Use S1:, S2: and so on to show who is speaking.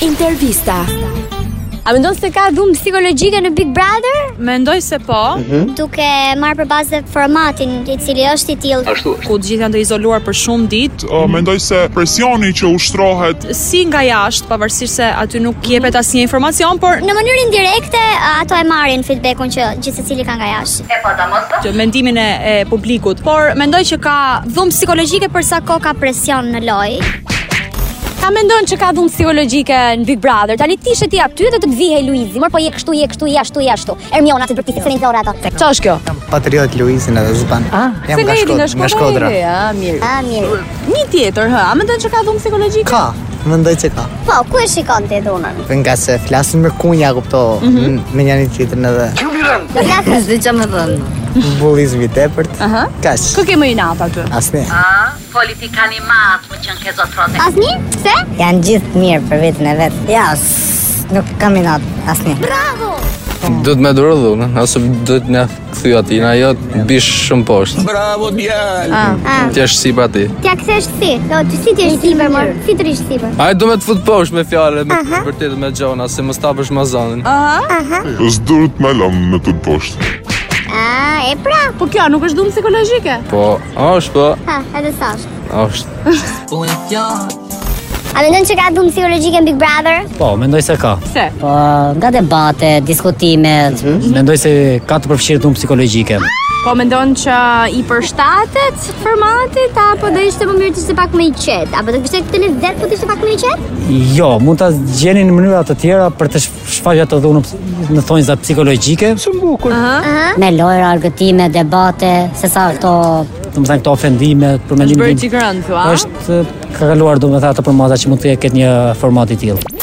S1: Intervista.
S2: A mendon se ka dhumë psikologjike në Big Brother?
S3: Mendoj se po,
S4: duke marrë për bazë formatin i cili është i tillë.
S5: Ashtu është.
S3: ku të gjithë janë të izoluar për shumë ditë,
S6: Uh, mendoj se presioni që ushtrohet
S3: si nga jashtë, pavarësisht se aty nuk jepet asnjë informacion, por
S4: Në mënyrë indirekte ato e marrin feedbackun që gjithë secili ka nga jashtë.
S3: që mendimin e, e publikut. Por mendoj që ka
S4: Dhumë psikologjike për sa kohë ka presion në lojë.
S2: Ka mendon që ka dhumë psikologjike në Big Brother? Tani ti ishe ti aty dhe të të vihej Luizi. Mor po je kështu, je kështu, je ashtu, je ashtu. Ermiona ti përpiqet se rindore ato. Ço është kjo?
S7: Patriot Luizin edhe Zban. Ah, jam
S3: se nga jeni nga
S7: nga Shkodra.
S2: Ja, mirë.
S4: Ah, mirë.
S3: një tjetër, hë, a mendon që ka dhumë psikologjike?
S7: Ka, mendoj se ka.
S4: Po, ku e shikon ti dhunën?
S7: Nga se flasin me kunja, kupto,
S3: Mhm.
S7: n- me njëri tjetrin edhe
S4: Do flasësh
S7: bullizmi i tepërt.
S3: Aha.
S7: Kaç?
S3: Kë ke më i nat aty?
S7: Asnjë.
S8: Politikani matë më që në kezo trote
S4: asnjë? Pse?
S9: Janë gjithë mirë për vetën e vetë. Ja, s- nuk kam i natë asni.
S4: Bravo.
S10: Do të më durë dhunën, ose do të na kthy aty, na jo të bish shumë poshtë.
S4: Ah,
S10: Ti është sipër aty.
S4: t'ja kthesh si? Do ti si ti je sipër, mor? Si ti je sipër?
S10: Ai do me të fut poshtë me fjalë, me vërtet me gjona, se mos tapësh mazanën.
S6: zdurt me lëmë në të poshtë.
S4: Ah, e pra.
S3: Po kjo nuk është dhumë psikologjike.
S10: Po, është po,
S4: Ha, edhe sa është.
S10: është.
S4: A mendon që ka dhumë psikologjike në Big Brother?
S8: Po, mendoj se ka
S3: Pse?
S9: Po, nga debate, diskutime,
S8: Mendoj se ka të përfshirë dhunë psikologjike
S2: Po mendon që i përshtatet formatit apo do ishte më mirë të ishte pak më i qetë?
S4: Apo do të kishte televizion, po të ishte pak më i qetë?
S8: Jo, mund të gjeni në mënyra të tjera Për të shf- shfaqja të dhunë ps- në thonjza psikologjike
S9: me lojra, argëtime, debate, se sa këto...
S8: Të më thënë këto ofendime, për mendimin
S3: Bërë
S8: tim,
S3: çikran thua?
S8: është ka kaluar do me thënë ato përmaza që mund të ketë një format i tillë.